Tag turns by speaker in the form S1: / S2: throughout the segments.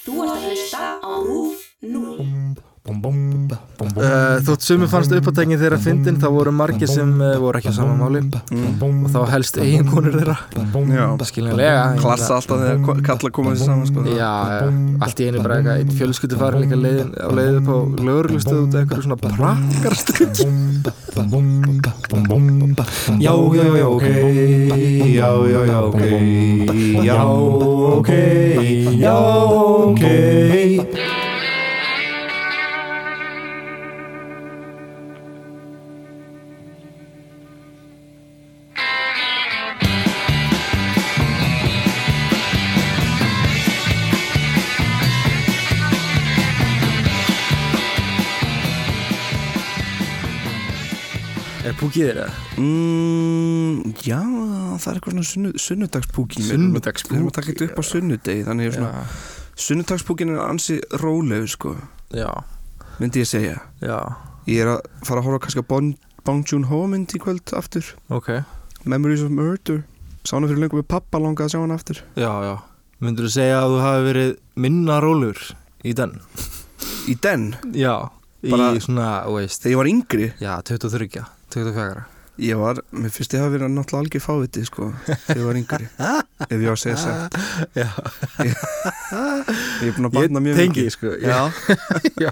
S1: Þú ert að hlusta á RÚF 0.
S2: Eh, Þótt sumi fannst uppátækin þeirra fyndin þá voru margir sem uh, voru ekki á sama máli og þá helst eiginkonur þeirra
S3: Já.
S2: skiljanlega ég meina-
S3: Klassa alltaf þegar ko- kallar koma sér saman sko.
S2: Já, já, allt í einu bara eitthvað einn fjölskyldu farin líka leiðin, á leiðið upp á lögurlustu út af eitthvað svona prakkarstuð
S4: Já, já, já, ok Já, já, já, ok Já, ok Já, ok
S2: Er púkið þeirra?
S3: Mm, já, það er eitthvað svona sunnu, sunnudagspúki
S2: Sunnudagspúki,
S3: Við erum að taka þetta upp á sunnudegi Þannig ég er svona, sunnudagspúkin er ansi rólegu sko,
S2: Já,
S3: myndi ég segja
S2: já,
S3: Ég er að fara að horfa kannski að Bon, Bong Joon-ho mynd í kvöld aftur
S2: ok
S3: Memories of Murder Sá hana fyrir lengur með pappa langað að sjá hana aftur
S2: Já, já Myndur þú segja að þú hafi verið minna rólur í den?
S3: Í den,
S2: Já
S3: Bara-
S2: Í svona, þú veist
S3: þegar ég var yngri
S2: Já, 23, 24
S3: Ég var, mér finnst ég hafa verið náttúrulega algjör fáviti sko, þegar ég var yngri ef ég var að segja sagt
S2: Já.
S3: Ég ég er búin að batna mjög
S2: tengi, sko
S3: Já,
S2: já.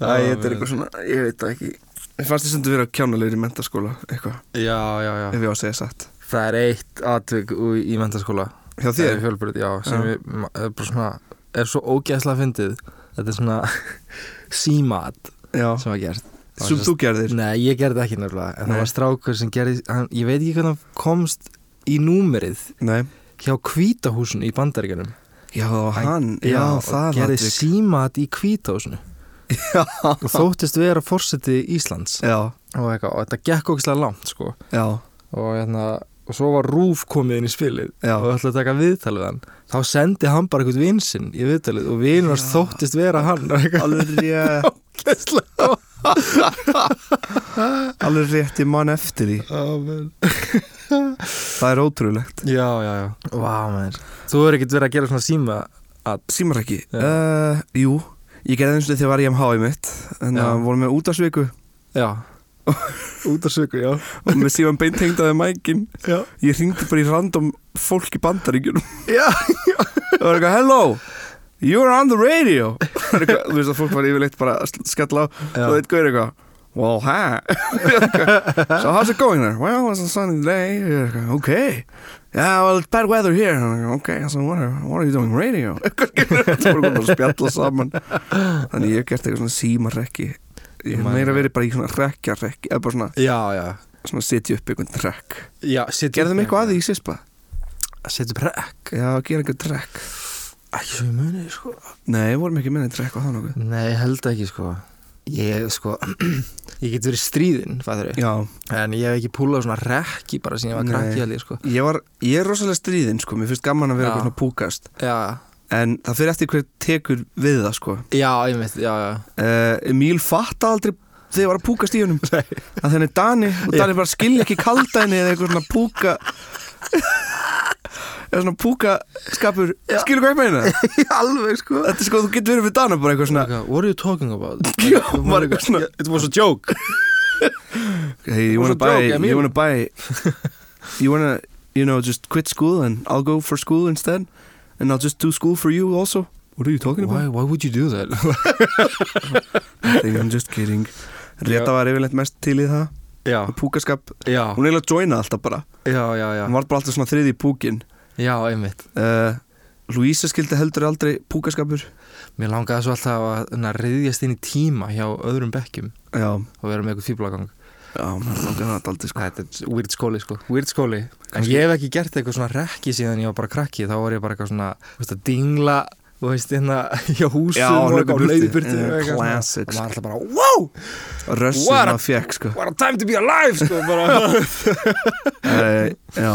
S3: Æ, þetta er eitthvað svona, ég veit það ekki Ah. Mér fannst ég stundu vera kjánulegur í mentaskóla eitthvað,
S2: Já, já, já
S3: ef ég var að segja satt
S2: Það er eitt atvik úr- í mentaskóla
S3: Hjá
S2: Það er
S3: þér?
S2: fjölbreyt, já sem
S3: Já.
S2: ég, ma- er bara svona er svo ógæðslega fyndið Þetta er svona símat
S3: Já,
S2: sem var gert Það var
S3: sem þú gerðir
S2: Nei, ég gerði það ekki nefnilega En
S3: Nei.
S2: það var strákur sem gerði hann, Ég veit ekki hvernig hann komst í númerið
S3: Nei,
S2: hjá kvítahúsinu í bandaríkanum
S3: já, það var hann Já,
S2: og
S3: það
S2: gerði
S3: atvik.
S2: símat í kvítahúsinu og þóttist vera forseti Íslands
S3: Já,
S2: og, eitthvað, og þetta gekk ógislega langt sko.
S3: já,
S2: og, hérna, og svo var Rúf komið inn í spilið
S3: Já.
S2: og ætlaði að taka viðtal við hann þá sendi hann bara einhvern vinsinn í viðtalið og vinur hans þóttist vera hann og eitthvað
S3: alveg rétt
S2: ógislega
S3: Alveg rétt, ég man eftir því Það er ótrúlegt
S2: já, já, já wow, þú hefur ekkert verið að gera svona síma
S3: Símar ekki
S2: Já.
S3: uh, Jú, ég gerði eins og þegar var ég um háið mitt Þannig
S2: Já.
S3: að vorum við útarsviku
S2: já út af söku, já
S3: og með síðan beintengdaði mækin
S2: já,
S3: Ég ringdi bara í random fólk í bandaríkjunum
S2: já.
S3: Það var eitthvað, hello You're on the radio Það var eitthvað, Þú veist að fólk var yfirleitt bara að sl- skella á
S2: Já.
S3: og þetta gauðir eitthvað Well, hi So how's it going there? Well, it's a sunny day Ég er eitthvað, Okay Yeah, well, it's bad weather here I'm like, Okay, so what are, what are you doing? Radio Þetta voru komin að spjalla saman Þannig ég hef gert eitthvað svona símarekki Ég hef
S2: Man-
S3: meira verið bara í svona rekjarekki eða bara svona,
S2: já, já,
S3: svona setja upp einhvern rekk
S2: já setja-
S3: Gerðum eitthvað að því í sispa?
S2: setja upp rekk
S3: Já, gera einhvern trekk
S2: ekki svo ég muni sko
S3: Nei, vorum ekki minni trekk á það nokkuð
S2: Nei, ég held ekki sko Ég sko Ég get verið stríðinn, fattur við
S3: Já,
S2: En ég hef ekki púlað svona rekki bara síðan ég var
S3: Nei.
S2: krakki alveg sko
S3: ég var, ég er rosalega stríðinn sko, mér finnst gaman að vera
S2: Já.
S3: eitthvað svona púkast
S2: Já,
S3: En það fyrir eftir hver tekur við það sko
S2: já, ég veit, já, já
S3: uh, Emil fatta aldrei þegar ég var að púkast í honum Nei. Að þenni Dani, og Dani bara skilja ekki kalda henni eða eitthvað svona púka Eða svona púkaskapur, skilur hvað ég meina?
S2: Alveg sko
S3: Þetta er sko, þú getur verið með Dana bara eitthvað svona
S2: What are you talking about?
S3: Já, maður eitthvað svona
S2: It was a joke
S3: Hey, you
S2: was a joke,
S3: wanna buy?
S2: I mean-
S3: you wanna buy? you wanna, you know, just quit school and I'll go for school instead, and I'll just do school for you also. What are you talking
S2: Why, why would you do that?
S3: about? I think I'm just kidding. Reta
S2: Já.
S3: var yfirleitt mest til í það
S2: já,
S3: Púkaskap,
S2: já,
S3: hún eiginlega joina alltaf bara
S2: já, já, já
S3: Hún var bara alltaf svona þriði í púkin
S2: Já, einmitt
S3: uh, Louisa skildi heldur aldrei púkaskapur
S2: Mér langaði svo alltaf að na, reyðjast inn í tíma hjá öðrum bekkjum
S3: Já,
S2: og vera með eitthvað fýblagang
S3: já, maður langar það aldrei sko
S2: Þetta er weird skóli sko Weird skóli En ég hef ekki gert eitthvað svona rekki síðan ég var bara krakki Þá var ég bara eitthvað svona þú veist, að dingla Þú veist, hérna hjá húsum
S3: Já,
S2: og
S3: hlaupa
S2: eitthvað
S3: burtu.
S2: leiðbyrti
S3: Yeah, classic,
S2: Og maður alltaf bara,
S3: Rössin
S2: What a-
S3: maður fekk sko
S2: what a time to be alive sko bara.
S3: uh, Já,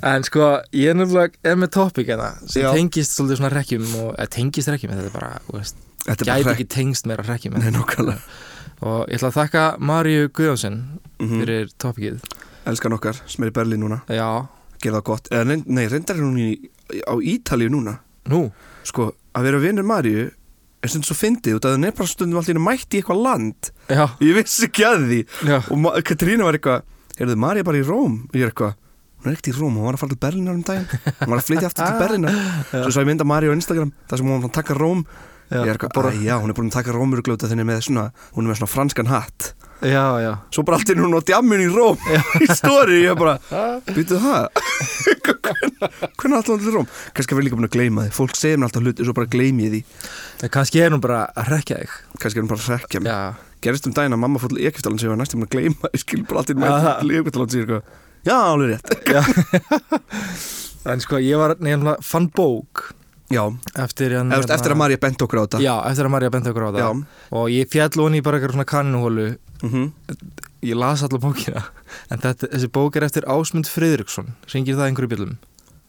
S2: En sko, ég er nefnilega er með topic hérna sem
S3: Já.
S2: tengist svolítið svona rekkjum og, eða tengist rekkjum, þetta er bara, þú veist
S3: þetta er
S2: gæti
S3: bara
S2: ekki tengst meira rekkjum
S3: Nei, nákvæmlega.
S2: Og ég ætla að þakka Maríu Guðjónsson
S3: Mhm.
S2: fyrir topicið
S3: Elskan okkar, sem er í Berlín núna
S2: Já,
S3: geða gott eða, nei, nei, reyndar er hún í, á Ítalíu núna
S2: Nú,
S3: sko, að vera vinnur Maríu er stundum svo fyndið út af það nefnir stundum allir mætt í eitthvað land
S2: já,
S3: ég vissi ekki að því
S2: já
S3: og Ma- Katrína var eitthvað, er þið Maríu bara í Róm og ég er eitthvað, hún er ekkert í Róm hún var að fara til Berlínar um daginn, hún var að flytja aftur til Berlínar svo svo ég mynda Maríu á Instagram þar sem hún var að taka Róm
S2: Já,
S3: ég er eitthvað, bara, já, hún er búin að taka Rómurgljóta þenni með svona, hún er með svona franskan hatt
S2: Já, já
S3: svo bara allt er hún á djamun í Róm í stóri, ég bara býtu það Hvern- hvernig alltaf hann til Róm kannski er við líka búin að gleyma því, fólk segir mér alltaf hluti svo bara gleymi ég því,
S2: En kannski er hún bara að rekja þig
S3: kannski er hún bara að rekja mig
S2: Já,
S3: gerist um daginn að mamma fór til Egyptaland sem ég var næstum búin að gleyma, ég skil bara alltaf
S2: Já, það.
S3: mætt til Egyptaland sem ég er eitthvað, já, alveg rétt
S2: en sko ég var nefnilega fann bók
S3: já,
S2: eftir, hérna hann,
S3: eftir, eftir að Marja bent okkur á þetta
S2: Já, eftir að Marja benti okkur á það
S3: já.
S2: og ég fjall hún í bara eitthvað svona kannuhólu
S3: mhm.
S2: ég las allar bókina en þetta, þessi bók er eftir Ásmund Friðriksson syngir það einhverju bjöllum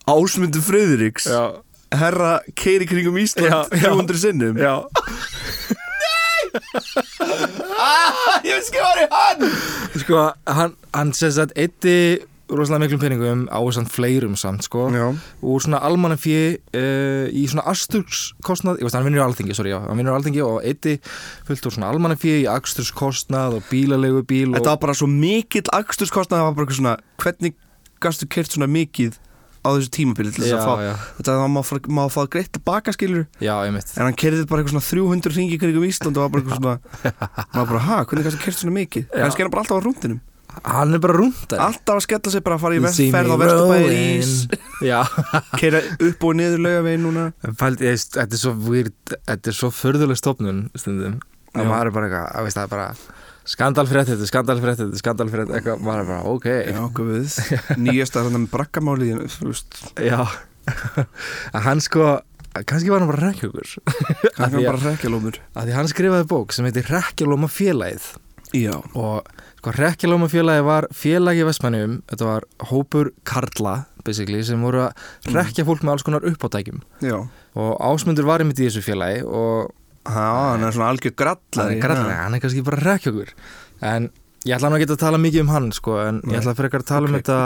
S3: Ásmundur Friðriks
S2: Já,
S3: herra keiri kringum Ísland
S2: Já, já.
S3: 300 sinnum
S2: já
S3: Ah, ég veist ekki var ég hann
S2: Sko, hann, hann sem sagt eitti rosalega miklum peningum á þessan fleirum samt, sko
S3: já,
S2: úr svona almannafjö uh, í svona asturskostnað ég veist, hann vinnur á alþingi, sorry, já, hann vinnur á alþingi og eitti fullt úr svona almannafjö í asturskostnað og bílalegu bíl
S3: þetta
S2: og,
S3: var bara svo mikill aksturskostnað, það var bara eitthvað svona hvernig gastu kert svona mikið á þessu tímabili til þess að fá
S2: já, já,
S3: þetta var maður fá- maður að fá greitt tilbaka skilur
S2: já, einmitt
S3: en hann kerði bara eitthvað svona 300 ringi kringum Ísland og var bara eitthvað svona maður bara, ha, hvernig gastu kert svona mikið
S2: Já.
S3: kannski er hann bara alltaf á rúndinum
S2: hann er bara rúndar
S3: alltaf að skella sig bara að fara í
S2: You see me
S3: vestferð á vesturbæði í
S2: rolling.
S3: ís
S2: Já,
S3: keira upp og niður laugavegin núna
S2: Pælt, ég, veist, þetta er svo weird, þetta er svo förðuleg stofnun stundum
S3: Já.
S2: að maður er bara eitthvað, að veist það er bara skandalfrétt þetta, skandalfrétt þetta, skandalfrétt eitthvað, maður er bara, ok,
S3: já, guð, nýjasta þannig með brakkamáli þú veist,
S2: já. að hann sko, kannski var hann bara rekkjókur, Af
S3: kannski
S2: því
S3: hann
S2: að-
S3: bara rekjalómur
S2: að því hann skrifaði bók sem heitir Rekkjálóma félagið
S3: já,
S2: og sko Rekkjálóma félagið var félagi vestmennum, þetta var hópur karla, basically, sem voru
S3: Mm.
S2: að rekja fólk með alls konar uppátækjum
S3: já
S2: og Ásmundur var einmitt í þessu félagi og
S3: Já, hann er svona algjör grallari
S2: hann er grallari, hann er kannski bara rekkjókur en ég ætla nú að geta að tala mikið um hann sko, en
S3: Nei.
S2: ég ætla frekar að tala um þetta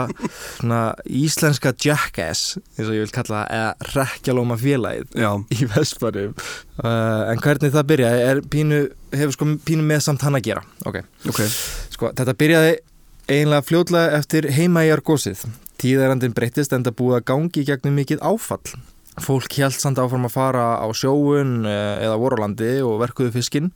S2: svona íslenska jackass eins og ég vil kalla það, eða rekkjalóma félagið
S3: Já,
S2: í Vesparum uh, en hvernig það byrjaði er pínu, hefur sko pínu með samt hann að gera ok,
S3: ok
S2: sko þetta byrjaði eiginlega fljótlega eftir heimaegjar gósið tíðarandin breyttist en það búið að gangi í gegnum mikið áfall fólk held samt áfram að fara á sjóun eh, eða vorulandi og verkuðu fiskin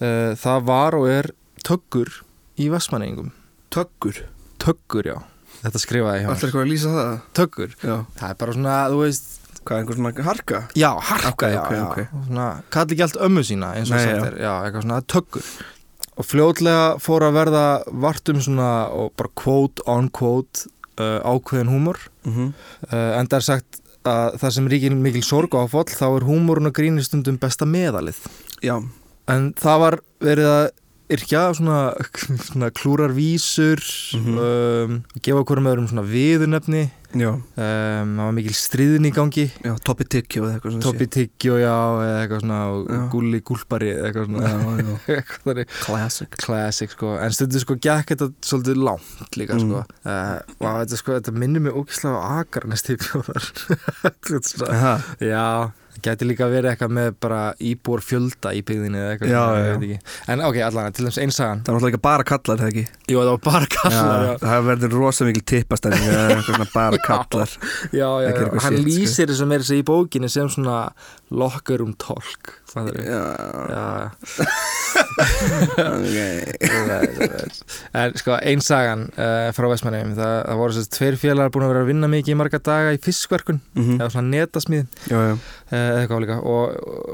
S2: Eh, það var og er töggur í vestmanningum
S3: Töggur
S2: töggur já, þetta skrifaði hjá
S3: Alltaf
S2: mér.
S3: eitthvað að lýsa það
S2: töggur,
S3: Já
S2: það er bara svona þú veist,
S3: Hvað, einhver svona harka?
S2: Já, harka,
S3: Ok,
S2: já,
S3: ok,
S2: já.
S3: ok.
S2: Svona, kalli ekki allt ömmu sína eins og
S3: Nei,
S2: sagt er, já, eitthvað svona tökkur og fljótlega fór að verða vart um svona og bara quote on quote uh, ákveðin húmor
S3: Mm -hmm.
S2: uh, en það er sagt að það sem ríkir mikil sorg á fólk þá er húmorun og grínistundum besta meðalið
S3: Já
S2: en það var verið að yrkja svona, svona klúrar vísur
S3: Mhm.
S2: um, gefa hverjum öðrum svona viðunefni
S3: Já
S2: um, það var mikil stríðin í gangi
S3: Já, Topi Tykki og eitthvað svona
S2: Topi Tyggjo, já, eða eitthvað svona og
S3: Já.
S2: Gulli Gúlpari, eða eitthvað svona
S3: Já, já
S2: eitthvað þannig
S3: Classic
S2: classic, sko, en stundu sko gekk þetta svolítið langt líka,
S3: Mm.
S2: sko uh, og þetta, sko, þetta minnir mig ógislega á Akarnes til bjóðar Þetta er svona-
S3: Aha.
S2: Já, það gæti líka verið eitthvað með bara íbúr fjölda í byggðinni eða eitthvað
S3: Já,
S2: svona,
S3: já.
S2: ég veit ekki. En ok, allan, til þess einsagan
S3: Það er náttúrulega ekki bara kallar, er það ekki?
S2: Jú, það var bara kallar, já,
S3: Það verður rosa mikil tippastæðing Það er eitthvað svona bara
S2: Já.
S3: kallar
S2: já, já, já,
S3: Það gerir eitthvað
S2: Hann
S3: shit, sko.
S2: lýsir þess að meira segja í bókinni sem svona lokkar um tólk, það er
S3: Já,
S2: Já,
S3: ok
S2: En sko, ein sagan uh, frá Vestmannegjum, það, það voru þessi tveir félagar búin að vera að vinna mikið í marga daga í fiskverkun
S3: Mhm.
S2: eða svona netasmíð
S3: Já, já
S2: Eh, eða eitthvað líka og,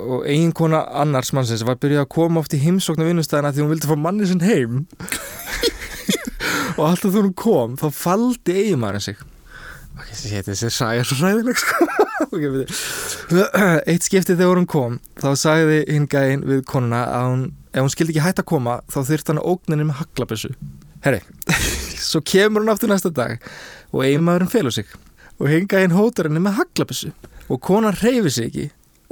S2: og ein kona annars mannsins var byrjuð að koma oft í heimsókn á vinnustæðina því hún vildi fá manni sinn heim og alltaf þegar hún kom þá faldi eigumærin sig ok, þetta er sér saga er svo ræðileg sko okay, byrju. eitt skipti þegar hún kom þá sagði hinn gæinn við konuna að hún, ef hún skildi ekki hætt að koma þá þyrfti hann ógninni með haglabessu herri, svo kemur hún aftur næsta dag og eigumærin felur sig og hinn gæinn hótar henni með haglabessu og konan reyfi sig ekki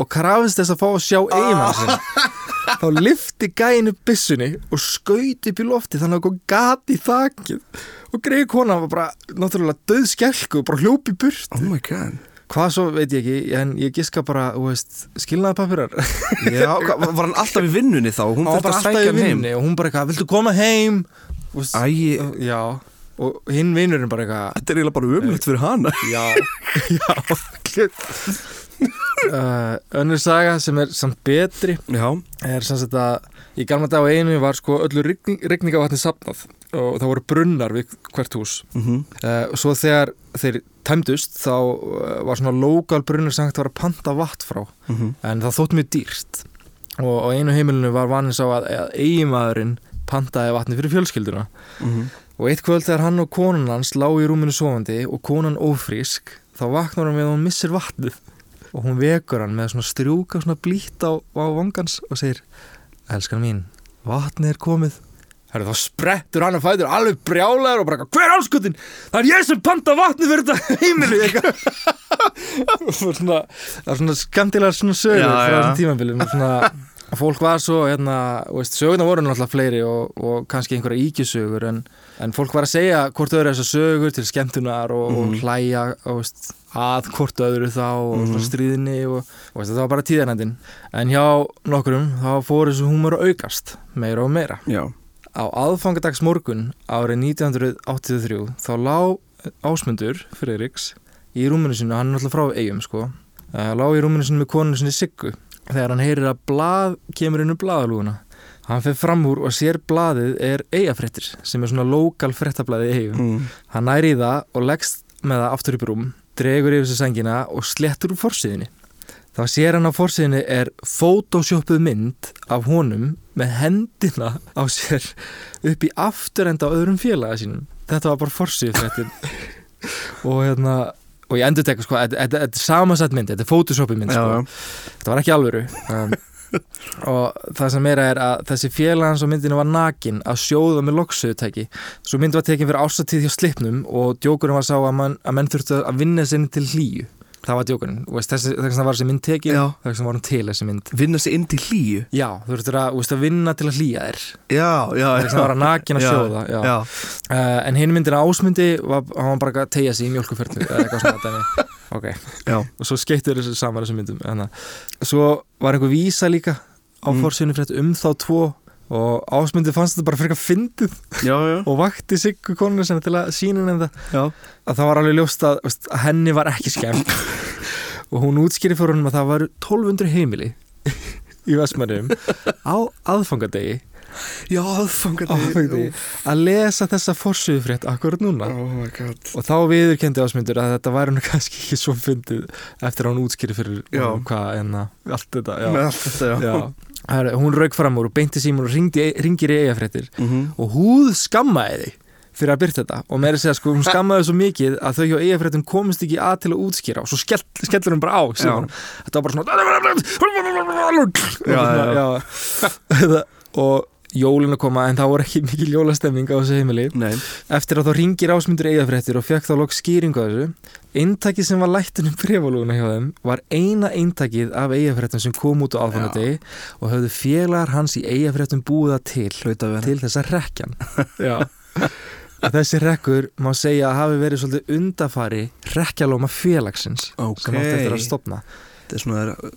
S2: og krafist þess að fá að sjá eiginmann sinn þá lifti gæin upp byssunni og skaut upp í lofti þannig að kom gat í þakið og greið konan var bara náttúrulega döð skelku og bara hljópi burt
S3: Oh my god
S2: hvað svo veit ég ekki en ég giska bara, þú veist, skilnaði papirar
S3: Já, hva, var hann alltaf í vinnunni þá? Hún
S2: var
S3: þurfti
S2: bara
S3: að
S2: alltaf
S3: sækja
S2: í
S3: hann heim
S2: vinni og hún bara eitthvað, viltu koma heim Þú veist,
S3: Æi,
S2: já og hinn vinurinn bara eitthvað
S3: þetta er eiginlega bara umlegt fyrir hana
S2: Já, já uh, Önnur saga sem er samt betri
S3: Já,
S2: er sem sagt að í gamla dag á einu var sko öllu rigning, rigningavatni safnað og það voru brunnar við hvert hús
S3: mhm
S2: uh, og svo þegar þeir tæmdust þá uh, var svona lokal brunnur sem hægt var að panta vatn frá
S3: mhm.
S2: en það þótt mjög dýrt og á einu heimilinu var vanins á að, að eiginmaðurinn pantaði vatni fyrir fjölskylduna
S3: Mhm.
S2: og eitt kvöld þegar hann og konan hans lág í rúminu sofandi og konan ófrísk þá vaknar hann við að hún missir vatnið og hún vekur hann með svona strjúka svona blít á, á vangans og segir elskan mín, vatnið er komið Herru, þá sprettur hann að fætur alveg brjálæður og bara eitthvað, hver áskutin? Það er ég sem panta vatnið fyrir þetta heimilu eitthvað." Og svona, Það er svona skandilega svona sögur
S3: Já,
S2: frá
S3: já.
S2: þessum tímabilið svona, Fólk var svo, hérna, þú veist, sögurnar voru náttúrulega fleiri og, og kannski einhverja íkjusögur en, en fólk var að segja hvort öðru þessar sögur til skemmtunar og,
S3: Mhm.
S2: og hlæja og, veist, að hvort öðru þá og
S3: Mhm.
S2: mm stríðinni og, og veist, það var bara tíðanendin en hjá nokkurum þá fór þessu húmur að aukast meira og meira
S3: Já,
S2: Á aðfangadags morgun árið 1983 þá lá Ásmundur Friðriks í rúminu sinu, hann er náttúrulega frá eigum sko, uh, lá í rúminu sinu með konu sinni Siggu þegar hann heyrir að blað kemur inn um blaðalúguna. Hann fer fram úr og sér blaðið er eigafréttir sem er svona lokal fréttablaðið í eigum.
S3: mm.
S2: Hann næri í það og leggst með það aftur upp í rúm, dregur yfir sig sængina og slettur úr forsiðinni. Þá sér hann á forsiðinni er photoshopuð mynd af honum með hendina á sér upp í afturenda á öðrum félaga sínum. Þetta var bara forsið þetta. og hérna, og ég endur teka sko, þetta- þetta þetta er samansætt mynd, þetta er photoshopuð mynd
S3: já,
S2: sko
S3: já
S2: þetta var ekki alvöru um, og það sem meira er að þessi félag hans á myndinu var nakin að sjóða með loksuðutæki svo mynd var tekin fyrir ásatíð hjá slipnum og djókurinn var sá að, man, að menn þurftu að vinna sinni til hlýju það var djókurinn, og veist, þessi, þess að var þessi mynd tekin
S3: Já.
S2: þess að var hún til þessi mynd
S3: Vinna sig inn til hlýju
S2: já, þú þurftur að, þú veist, að vinna til að hlýja þér
S3: Já, já,
S2: þess að var að nakin að
S3: Já,
S2: sjóða já.
S3: já
S2: Uh, en hinn myndin að ásmundi var, hann var bara að tegja sig í mjölkuferðlu eða eitthvað svona dæmi. ok
S3: Já.
S2: og svo skeittur þessu saman þessum myndum Þannig. að- svo var einhver vísa líka á
S3: Mm.
S2: mm. fórsynum frétt um þá tvo og ásmundi fannst þetta bara frekar fyndið
S3: Já, já,
S2: og vakti Siggu konuna sinna til að sína henni það
S3: já
S2: að það var alveg ljóst að, veist, að henni var ekki skemmt og hún útskýri fyrir honum að það var 1200 heimili í Vestmannum á aðfangadegi
S3: Já, aðfangadegi
S2: aðfangadegi að lesa þessa fórsöðu frétt akkurat núna
S3: Oh my god
S2: Og þá viðurkendi ásmyndur að þetta væri hann kannski ekki svo fyndið eftir að hún útskýri fyrir
S3: Já.
S2: honum hvað en að allt þetta, já.
S3: Með allt þetta, já,
S2: já. Her, hún rauk fram úr og beinti símur og ringdi, ringir í eigafréttir
S3: Mhm.
S2: og húð skammaði þig fyrir að byrta þetta og meira að segja sko, hún skammaði svo mikið að þau hjá eigafréttum komist ekki að til að útskýra og svo skell, skellur hún bara á símanum. þetta var bara svona
S3: Já, já, já.
S2: já. og jólinu koma en það voru ekki mikil jólastemming á þessu heimili
S3: Nei
S2: Eftir að þá ringir ásmundur eigafréttir og fekk þá lokk skýringu að þessu. Eintakið sem var lættunum brefalúna hjá þeim var eina eintakið af eigafréttum sem kom út á aðfangadegi og höfðu félagar hans í eigafréttum búið það til
S3: Hlaut að vera
S2: til þessa rekjan. Já. Og þessi rekkur má segja að hafi verið svolítið undafari rekjalóma félagsins
S3: Ok.
S2: sem átti eftir að stopna.
S3: Þetta er svona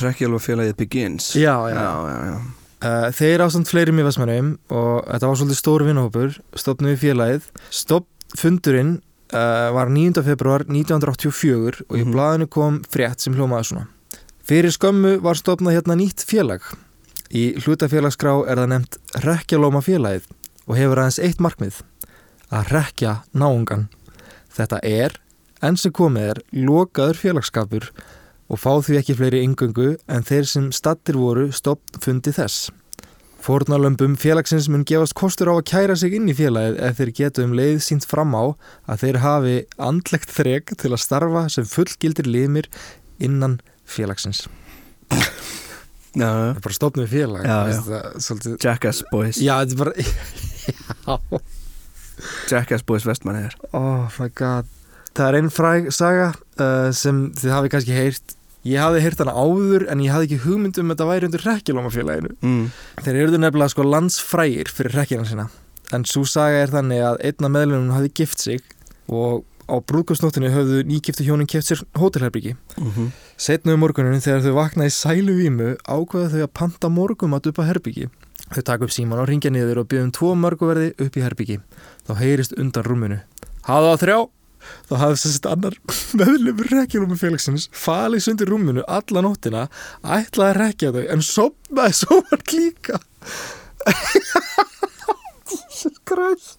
S3: Rekkjálfa félagið Begins
S2: Já, já.
S3: já, já, já.
S2: Uh, þeir ástand fleirum í Vestmannheim og þetta var svolítið stór vinnahópur, stopnum við félagið. Stopfundurinn uh, var 9. februar 1984 og í
S3: Mhm.
S2: blaðinu kom frétt sem hljómaði svona. Fyrir skömmu var stopnað hérna nýtt félag. Í hlutafélagsgrá er það nefnt Rekkjalóma félagið og hefur aðeins eitt markmið, að rekja náungan. Þetta er, enn sem komið er, lokaður félagskapur og fá því ekki fleiri yngöngu en þeir sem stattir voru stopn fundi þess. Fórnarlömbum félagsins mun gefast kostur á að kæra sig inn í félagið ef þeir getu um leið sínt fram á að þeir hafi andlegt þrek til að starfa sem fullgildir limir innan félagsins.
S3: já, já.
S2: Það er bara stopnum félag.
S3: Já,
S2: veist Það, svolítið...
S3: Jackass Boys
S2: Já, þetta er bara... Já.
S3: Jackass Boys Vestmanniðar
S2: Oh my god Það er einn fræg saga uh, sem þið hafið kannski heyrt Ég hafði heyrt hana áður en ég hafði ekki hugmynd um að þetta væri undir rekkilómafélaginu.
S3: mm.
S2: Þeir eru nefnilega sko landsfrægir fyrir rekkina sína. En svo saga er þannig að einna meðlunum hafði gift sig og á brúðkastnóttinu höfðu nýgiftu hjónin keft sér hótelherbyggi.
S3: Mm -hmm.
S2: Setna um morguninu þegar þau vaknaði sælu vímu ákveða þau að panta morgum að upp á herbyggi. Þau taka upp síman og ringja niður og byggjum tvo mörguverði upp í herbyggi. Þá heyrist undan rúminu. Hafðu á þrjá! Þá hafði sérst annar meðlum rekkjulúmi félagsins falið sundi rúminu alla nóttina, ætlaði að rekja þau en sopnaði sóvart líka. Græs.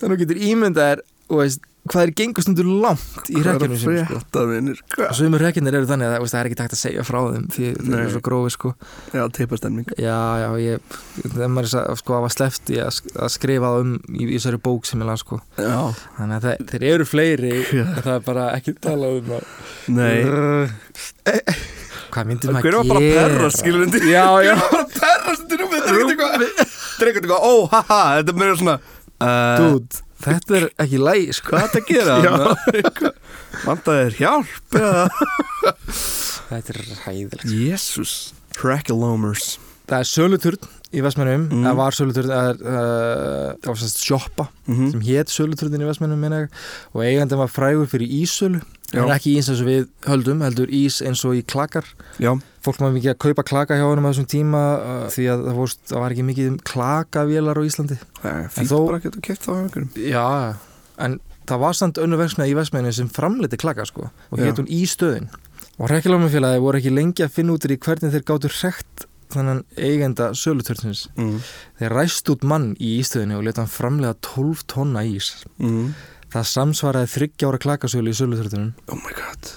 S2: Þannig að þú getur ímyndaðir og veist hvað er gengust undir langt í rekkjunum
S3: sem
S2: sinni
S3: sko
S2: sko.
S3: Þetta vinir,
S2: Og
S3: hvað?
S2: Sumur rekkinir eru þannig að veist, það er ekki takt að segja frá þeim því þeir
S3: Nei.
S2: eru svo grófi sko
S3: Já, teipastemning
S2: Já, já, ég, þegar maður er sa- sko að var sleppt í að, sk- að skrifa það um í, í þessari bók sem ég laði sko
S3: Já,
S2: Þannig að þeir, þeir eru fleiri
S3: Já.
S2: en það er bara ekki talað um það Eh,
S3: nei
S2: Hvað myndir
S3: Hver
S2: maður
S3: var
S2: að
S3: bara að
S2: gera?
S3: perra, skilur undir
S2: Já, já,
S3: bara að perra stundir um þetta er ekkert eitthvað Þetta er ekkert eitthvað, ó, haha, þetta er meira svona uh,
S2: dúd, þetta er ekki læg sko
S3: Hvað þetta gera?
S2: Já.
S3: þarna? Vantaði þér hjálp eða?
S2: Þetta er hæðilegt
S3: Jésús Crackalomers
S2: Það er söluturn í Vestmennum
S3: Mm.
S2: Það var söluturn, það er, uh, það var sérst sjoppa
S3: Mhm.
S2: sem hétt söluturðin í Vestmennum minna og eigandi var frægur fyrir ísölu
S3: Já.
S2: en ekki ís eins og við höldum, heldur ís eins og í klakar
S3: Já,
S2: fólk maður mikið að kaupa klaka hjá honum á þessum tíma uh, því að það, fórst, það var ekki mikið um klakavélar á Íslandi
S3: það er fínt
S2: þó-
S3: bara að geta kæft þá af einhverjum
S2: Já, en það var samt önnu verksmiða í Vestmenni sem framleiti klaka sko og
S3: Já.
S2: hétt hún í stöðin og rekkilámafélagi voru ekki lengi að finna út úr í hvernig þeir gátu rekt þannan eigenda sölutörnins
S3: mm.
S2: þeir ræst út mann í ístöðinni og leta hann framlega 12 tonna ís
S3: Mm.
S2: það samsvaraði 30 ára klakasölu í sölutörnum
S3: Oh my god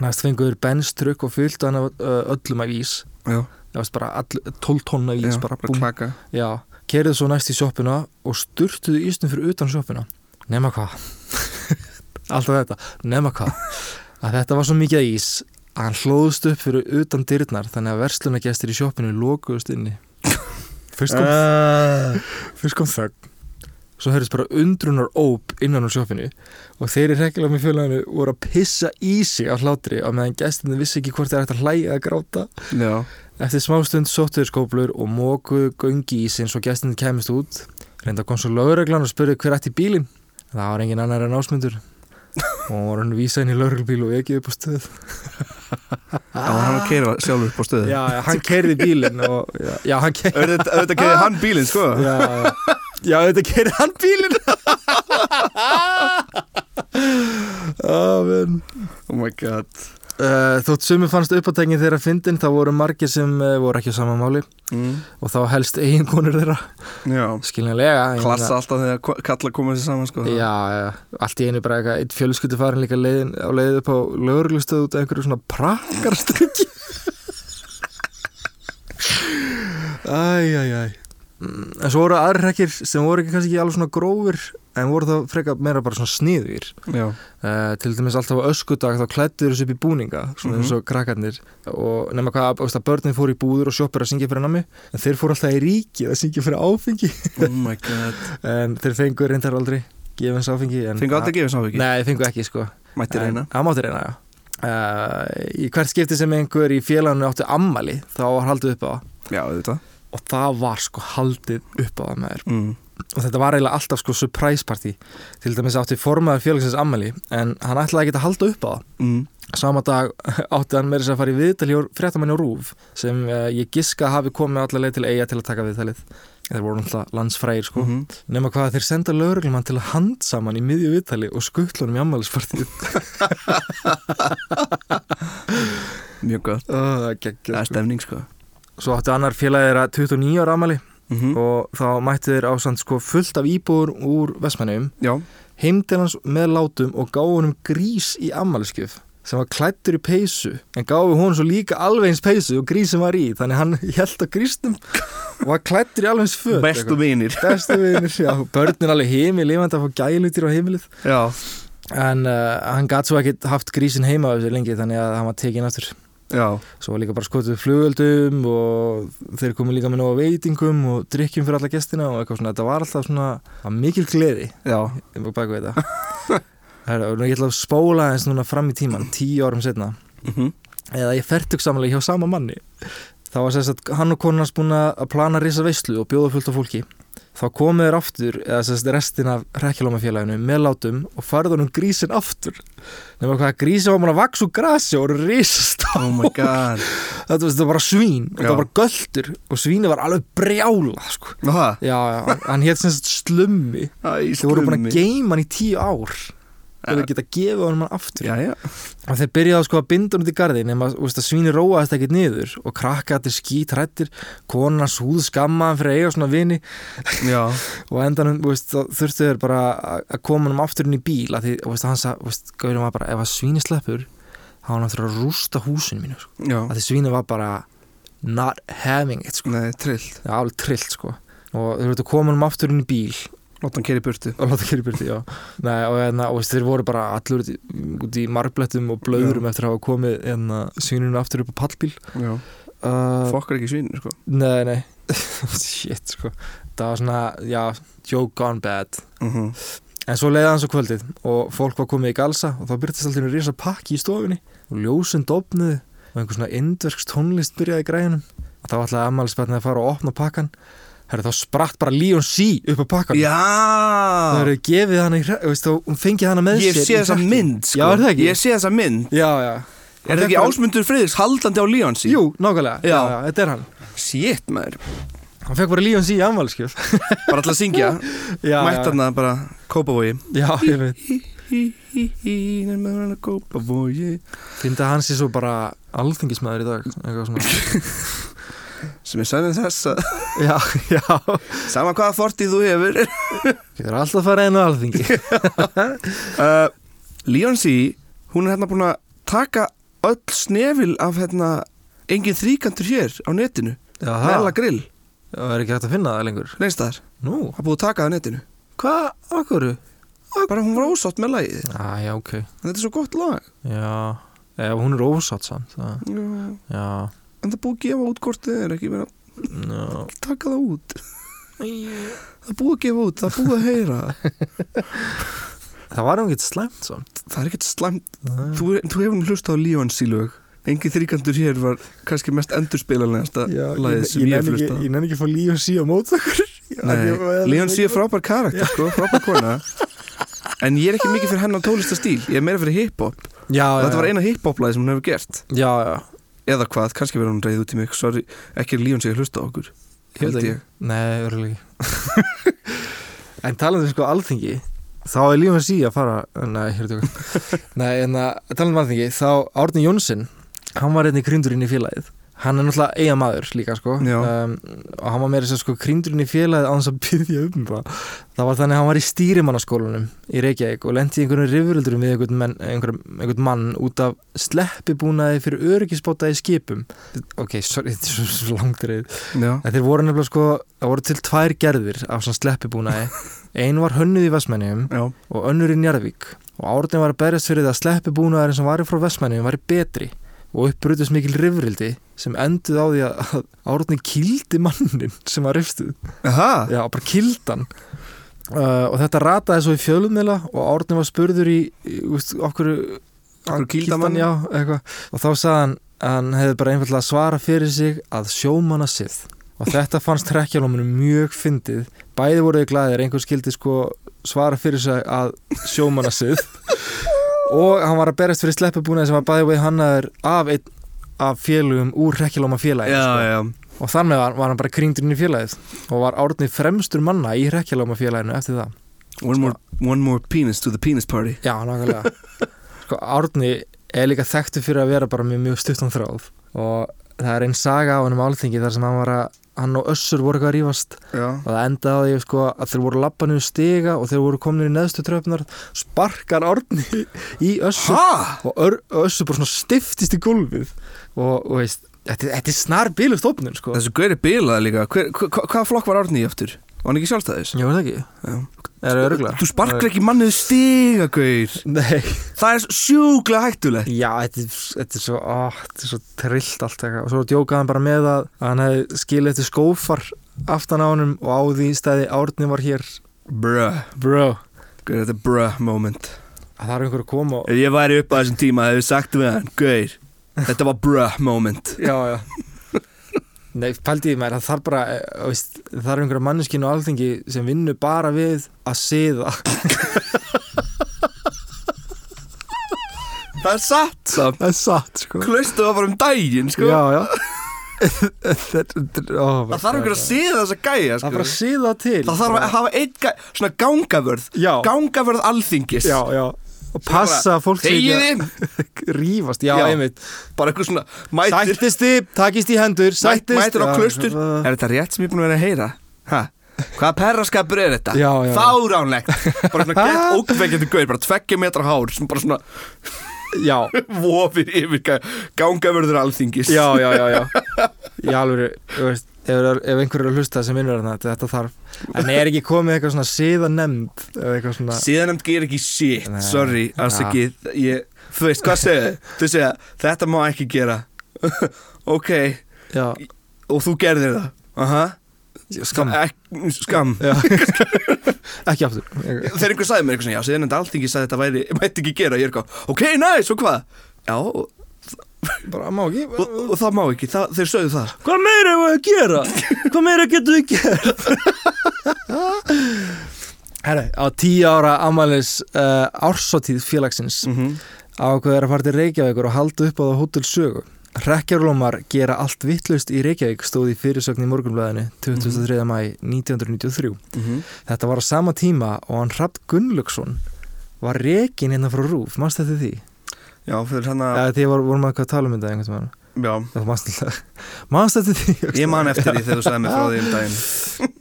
S2: næst fenguður benstrykk og fyllt hann af ö, öllum af ís
S3: Já,
S2: Það varst bara all, 12 tonna ís
S3: já,
S2: bara,
S3: bara
S2: búmm.
S3: klaka
S2: Já, kerið svo næst í sjoppuna og sturtuðu ísnum fyrir utan sjoppuna nema hvað alltaf þetta, nema hvað að þetta var svo mikið af ís að hann hlóðust upp fyrir utan dyrnar þannig að verslunagestir í sjoppinu lokuðust inni fyrst
S3: Eh,
S2: kom, fyrst kom þögn svo heyrðist bara undrunar óp innan á sjoppinu og þeir í regjulega með fjölanu voru að pissa í sig af hlátri á meðan gestinni vissi ekki hvort þeir ætti að hlæja eða gráta
S3: Já,
S2: Eftir smástund sóttuður skóplur og mókuðu göngi í sinn svo gestin kemist út. Reynda kom svo lögreglan og spurði hver ætti bílinn. Það var engin annar en ásmundur. Og hún var hann vísa inn í lögreglbíl og ekki upp á stöð.
S3: ah. hann var að keira sjálfur upp á stöðu
S2: Já, já, hann kerði bílinn og... Já, já hann kerði...
S3: Auðvitað auðvitað keiri hann bílinn, sko
S2: Já, já. já, þetta kerði hann bílinn. Amen.
S3: Oh my god
S2: Uh, þótt sumi fannst uppátækinn þeirra fyndin þá voru margir sem uh, voru ekki á sama máli
S3: mm.
S2: og þá helst eiginkonur þeirra
S3: Já,
S2: skiljanlega ég meina-
S3: klassa alltaf þegar ko- kallar koma sér saman, sko
S2: Já, já, allt í einu bara eitthvað eitt fjölskyldu farin líka leiðin, á leið upp á lögurlustöð út af einhverju svona prakkarstykki Æj, æj, æj Mm, En svo voru aðrir rekkir sem voru ekki kannski ekki alveg svona grófir en voru þá frekar meira bara svona sniðir
S3: Já,
S2: uh, til dæmis alltaf á öskudag þá klættur þessu upp í búninga svona
S3: Mhm.
S2: eins og krakkarnir og nema hvað, þú veist að börnin fóru í búður og sjoppur að syngja fyrir námi en þeir fóru alltaf í ríki að syngja fyrir áfengi
S3: oh my god
S2: en þeir fengu reyndar aldrei gefins áfengi en-
S3: Fengu aldrei gefið sáfiki
S2: Nei, fengu ekki sko
S3: Mætti reyna
S2: Það mátti reyna, já Uh, í hvert skipti sem einhver í félaginu átti ammali þá var haldið upp á það
S3: Já, auðvitað
S2: og það var sko haldið upp á það með þér
S3: mm.
S2: og þetta var eiginlega alltaf sko surprise party til dæmis átti formaður félagsins ammali en hann ætlaði ekki að halda upp á það
S3: Mm.
S2: sama dag átti hann meira þess að fara í viðtal hjá fréttamanni á Rúf sem uh, ég giska að hafi komið allar leið til eiga til að taka viðtalið þeir voru náttúrulega landsfrægir sko
S3: Mhm.
S2: Nefna hvað að þeir senda lögreglumann til að hand saman í miðju viðtali og skuttlunum í ammælispartíð.
S3: Mjög gott
S2: Oh,
S3: Það er stemning, sko
S2: Svo áttu annar félagið þeirra 29 ára ammæli
S3: Mhm.
S2: og þá mættu þeir ásand sko fullt af íbúður úr Vestmannum,
S3: Já,
S2: heimdilans með látum og gáðu honum grís í ammæliskef sem var klættur í peysu en gáðu honum svo líka alveg eins peysu og grísin var í þannig hann held að grísnum og var klættur í alveg eins föt
S3: bestu vinir
S2: bestu vinir, já, börnin alveg heimi lifandi að fá gælutir á heimilið
S3: Já,
S2: En uh, hann gat svo ekkert haft grísin heima af þessu lengi þannig að hann var tekinn aftur.
S3: já
S2: Svo var líka bara skotuð flugöldum og þeir komu líka með nóga veitingum og drikkjum fyrir alla gestina og eitthvað svona. Þetta var alltaf svona það var mikil gleði
S3: Já,
S2: um baku þetta. Herra, og nú ég ætla að spóla eins núna fram í tíman, tíu árum setna.
S3: Mhm.
S2: eða ég fertug samanlega hjá sama manni þá var sérst að hann og konan hans búin að plana risa veislu og bjóða fullt af fólki þá komu þeir aftur eða sérst restin af rekjalómafélaginu með látum og farðunum grísin aftur nema hvað grísin var búin að vaks úr grasi og voru risast
S3: Oh my god
S2: þetta var- þetta var bara svín og
S3: Já.
S2: það var bara göldur og svíni var alveg brjála sko.
S3: Nú það?
S2: já, já, hann- hann hétt sérst slummi
S3: Æ,
S2: þeir voru búin
S3: slummi.
S2: að geima hann í tíu ár
S3: Ja.
S2: þeir geta gefið honum hann aftur
S3: Já, já
S2: og þeir byrjaði sko að binda hún út í garðin nema þú veist, að svíni róaðist ekkert niður og krakka þetta skítrættir kona súð skammaðan fyrir að eiga svona vini
S3: Já
S2: og á endanum þú veist, þá þurftu þeir bara að- að koma hann aftur inn í bíl að því þú veist, hann sagði, þú veist, gaurin var bara ef að svíni sleppur þá hann þurfa að rústa húsinu mínu sko.
S3: Já
S2: að því svíni var bara not having it sko.
S3: Nei, trillt
S2: það var alveg trillt sko. og þeir þurftu að koma hann aftur inn í bíl
S3: Láta hann keri burtu
S2: og láta kyrri byrti, já Nei, og, enna, og veist, þeir voru bara allur út í, út í marblettum og blöðurum eftir að hafa komið enna, svínunum aftur upp á pallbíl
S3: Já
S2: uh,
S3: Fokkar ekki svínir, sko
S2: Nei, nei Shit, sko Það var svona, já, joke gone bad
S3: Mhm.
S2: En svo leiði hans á kvöldið og fólk var komið í galsa og þá byrtist alltaf einu risa pakki í stofunni og ljósin dofnuðu og einhver svona indverks tónlist byrjaði í græjunum og þá ætlaði ammælisbætnið að fara og opna pakkan Herri, þá spratt bara Leon C upp á pakkan Það
S3: Já
S2: eru gefið hana í hre- veist, og hún fengið hana með
S3: Ég
S2: sér
S3: sé
S2: í
S3: þessa
S2: hrekkinn.
S3: mynd, sko
S2: Já, er það ekki?
S3: Ég sé þessa mynd
S2: Já, já
S3: Er það ekki
S2: Þetta-
S3: ásmundur friðis haldandi á Leonsi?
S2: Jú, nákvæmlega, já.
S3: Já.
S2: Já, þetta er hann
S3: Shit, maður
S2: Hann fekk bara Leon C í ammæliskef
S3: Bara alltaf að syngja
S2: Já,
S3: Mætt hann að bara Kópavogi
S2: já, já, ég veit
S3: Kópavogi
S2: Fyndi að hann sé svo bara alþingismæður í dag Eitthvað svona
S3: Sem er sannir þess að
S2: Já, já
S3: Sama hvaða fortið þú hefur
S2: Getur alltaf að fara einu alþingi
S3: uh, Leonsi Hún er hérna búin að taka öll snefil af hérna Engin þríkantur hér á netinu
S2: Já,
S3: Mela grill,
S2: það er ekki hægt að finna það lengur
S3: neins þar
S2: Nú,
S3: Það er búið að taka það á netinu
S2: hvað, okkur?
S3: Bara hún var ósátt með lagið
S2: Æ, já, ok
S3: Þetta er svo gott lag
S2: Já, ef hún er ósátt samt það.
S3: Já.
S2: Já,
S3: En það er búið að gefa út hvort þið er ekki verið
S2: já
S3: að taka það út Það er búið að gefa út, það er búið að heyra
S2: Það var um ekki slæmt samt
S3: Það er ekkert slæmt
S2: Nei.
S3: Þú, þú hefur nú hlustað á Leonsi lög Engin þríkantur hér var kannski mest endurspelanlegasta lagið sem ég, hef hlustað á.
S2: nenni ekki að fá líf og sí á mót okkur
S3: Nei, Leon sé frábær karakter sko, frábær kona En ég er ekki mikið fyrir hennar tónlistastíl Ég er meira fyrir hiphop
S2: Já,
S3: Og
S2: já,
S3: Þetta var eina hiphop-lagi sem hún hefur gert
S2: Já, já
S3: Eða hvað, kannski verður hún reyð út í mig Sorry, ekki er Leon sé að hlusta á okkur
S2: Ég veit
S3: Held
S2: ekki. Nei, örugglega ekki En talandi um sko alþingi Þá er lífum sí að fara Nei, hér tók Nei, en að talandi um alþingi Þá Árni Jónsson Hann var einnig krindurinn í félagið Hann er náttúrulega eiga maður líka sko
S3: Já.
S2: Og hann var meira þess að segja, sko krindurinn í félagið Án þess að byrja um það Það var þannig að hann var í stýrimannaskólanum Í Reykjavík og lendi í einhverjum rifuröldurum Við einhvern, menn, einhvern, einhvern mann Út af sleppibúnaði fyrir öryggisbóta í skipum Ok, sorry, þetta er svo, svo langt reyð
S3: Já,
S2: En þeir voru nefnilega sko, það voru til tvær gerðir af svona sleppibúnaði. Einn var hönnuð í Vestmenningum
S3: já,
S2: og önnur í Njarðvík. Og árðin var að berjast fyrir það að sleppibúnaðarinn sem varir frá Vestmenningum væri betri og uppbrutist mikil rifrildi sem enduð á því að árðin kildi mannin sem var rifstuð.
S3: aha
S2: Já, bara kildan. Uh, og þetta rataði svo í fjölumila og árðin var spurður í, í úst, okkur,
S3: Okkur kýldi hann?
S2: já, eitthvað. Og þá sagði hann að hann hefði bara einfallega svara fyrir sig að sjómanna sið. Og þetta fannst trekkjálóminu mjög fyndið. Bæði voruði glæðir, einhver skildi sko svara fyrir sig að sjómanna sið. og hann var að berjast fyrir sleppubúnaði sem var bæði vegi hannaður af einn af félugum úr sko. rekkjálóma félagi
S3: Já, já,
S2: og þannig var, var hann bara kringdurinn í félagið og var árni fremstur manna í rekkjálóma félaginu eftir það
S3: one more, one more penis to the penis party
S2: Já, nákvæmlega Sko, Árni er líka þekktu fyrir að vera bara með mjög stuttan þráð og það er einn saga á hann um álþingi þar sem hann var að hann og Össur voru eitthvað að rífast
S3: Já,
S2: og það endaði á því sko, að þeir voru lappa niður stiga og þeir voru komin í neðstu tröfnar sparkar Árni í Össur
S3: ha?
S2: og ör, Össur bara svona stiftist í gólfið og, og veist, þetta, þetta er snar bílu stofnun sko.
S3: Þessu gaur er bilað líka Hver, hva, hva- Hvaða flokk var Árni í aftur? Var hann ekki sjálfstæðis?
S2: Ég veit það ekki,
S3: Já.
S2: er það örgla?
S3: Þú sparkar ekki mannið stiga, gaur
S2: Nei
S3: Það er sjúklega hættulegt
S2: Já, þetta er, þetta er svo, á, þetta er svo trillt allt eitthvað og svo djókaði hann bara með að að hann hefði skilið eftir skófar aftan á honum og á því stæði árni var hér
S3: Bruh,
S2: Bro
S3: gaur, þetta er bruh moment
S2: Það er einhver að koma og
S3: Ef ég væri upp á þessum tíma hefur sagt við hann Gaur, Þetta var bruh moment
S2: já, já Nei, pældi ég mér, það þarf bara eh, veist, það þarf einhverja manneskinu á alþingi sem vinnur bara við að siða
S3: Það er satt samt
S4: Það er satt sko
S3: Klaustu það bara um daginn sko
S4: Já, já Þetta er ó,
S3: Það þarf einhver að siða þessa gæja
S2: Það
S3: sko
S2: er bara að siða til
S3: Það þarf að hafa einn gæ... svona gangavörð
S2: Já,
S3: Gangavörð alþingis
S2: já, já Og passa að fólk sé ekki
S3: Þegiði
S2: að rífast Já,
S3: Já.
S2: einmitt
S3: Bara eitthvað svona Mætir
S2: Sættist þið, takist í hendur Sættist
S3: Mætir á
S2: Já,
S3: klaustur
S2: það-
S3: Er þetta rétt sem ég er búin að vera að heyra? Ha? Hvaða perraskapur er þetta?
S2: Já, já.
S3: Fáránlegt Bara svona gett ókveikjandi gauð Bara tveggja metra hár Sem bara svona
S2: Já,
S3: vofir yfir ga- Gangavörður alþingis
S2: já, já, já, já. Í alvöru, þú veist, ef, ef einhver er að hlusta sem vinnur þarna, þetta þarf En er ekki komið eitthvað svona siðanemnd eða eitthvað svona
S3: Síðanemt ger ekki shit,
S2: Nei.
S3: sorry, alls
S2: Ja.
S3: ekki ég, Þú veist, hvað segðu? Þú segja, þetta má ekki gera Ok,
S2: Já,
S3: og þú gerðir það Aha,
S2: skam
S3: Ek, Skam
S2: Já. Ekki aftur
S3: Þegar einhver sagði mér eitthvað svona, já, síðanemt alþingi sagði þetta væri, mætti ekki gera, ég er eitthvað Ok, næs, og hvað? Já, og,
S2: Bara má ekki
S3: og, og það má ekki, það, þeir sögðu það
S2: Hvað meira hefur að gera? Hvað meira getur við gert? Herra, á tíu ára ammælis uh, ársatíð félagsins
S3: mm -hmm.
S2: ákveður er að fara til Reykjavíkur og halda upp á það hótel sögu. Rekkjarlómar gera allt vittlust í Reykjavík stóð í fyrirsögn í morgunblæðinu 23.
S3: Mhm.
S2: mæ 1993. Þetta var á sama tíma og hann Hrapp Gunnlaugsson var rekin hérna frá Rúf, mannst þetta því?
S3: Já, fyrir hann að,
S2: Eða því var, vorum að hvað tala um þetta einhvern veginn.
S3: já,
S2: Það mannst þetta Mannst þetta því?
S3: ég man eftir því þegar þú sagði mér frá því um daginn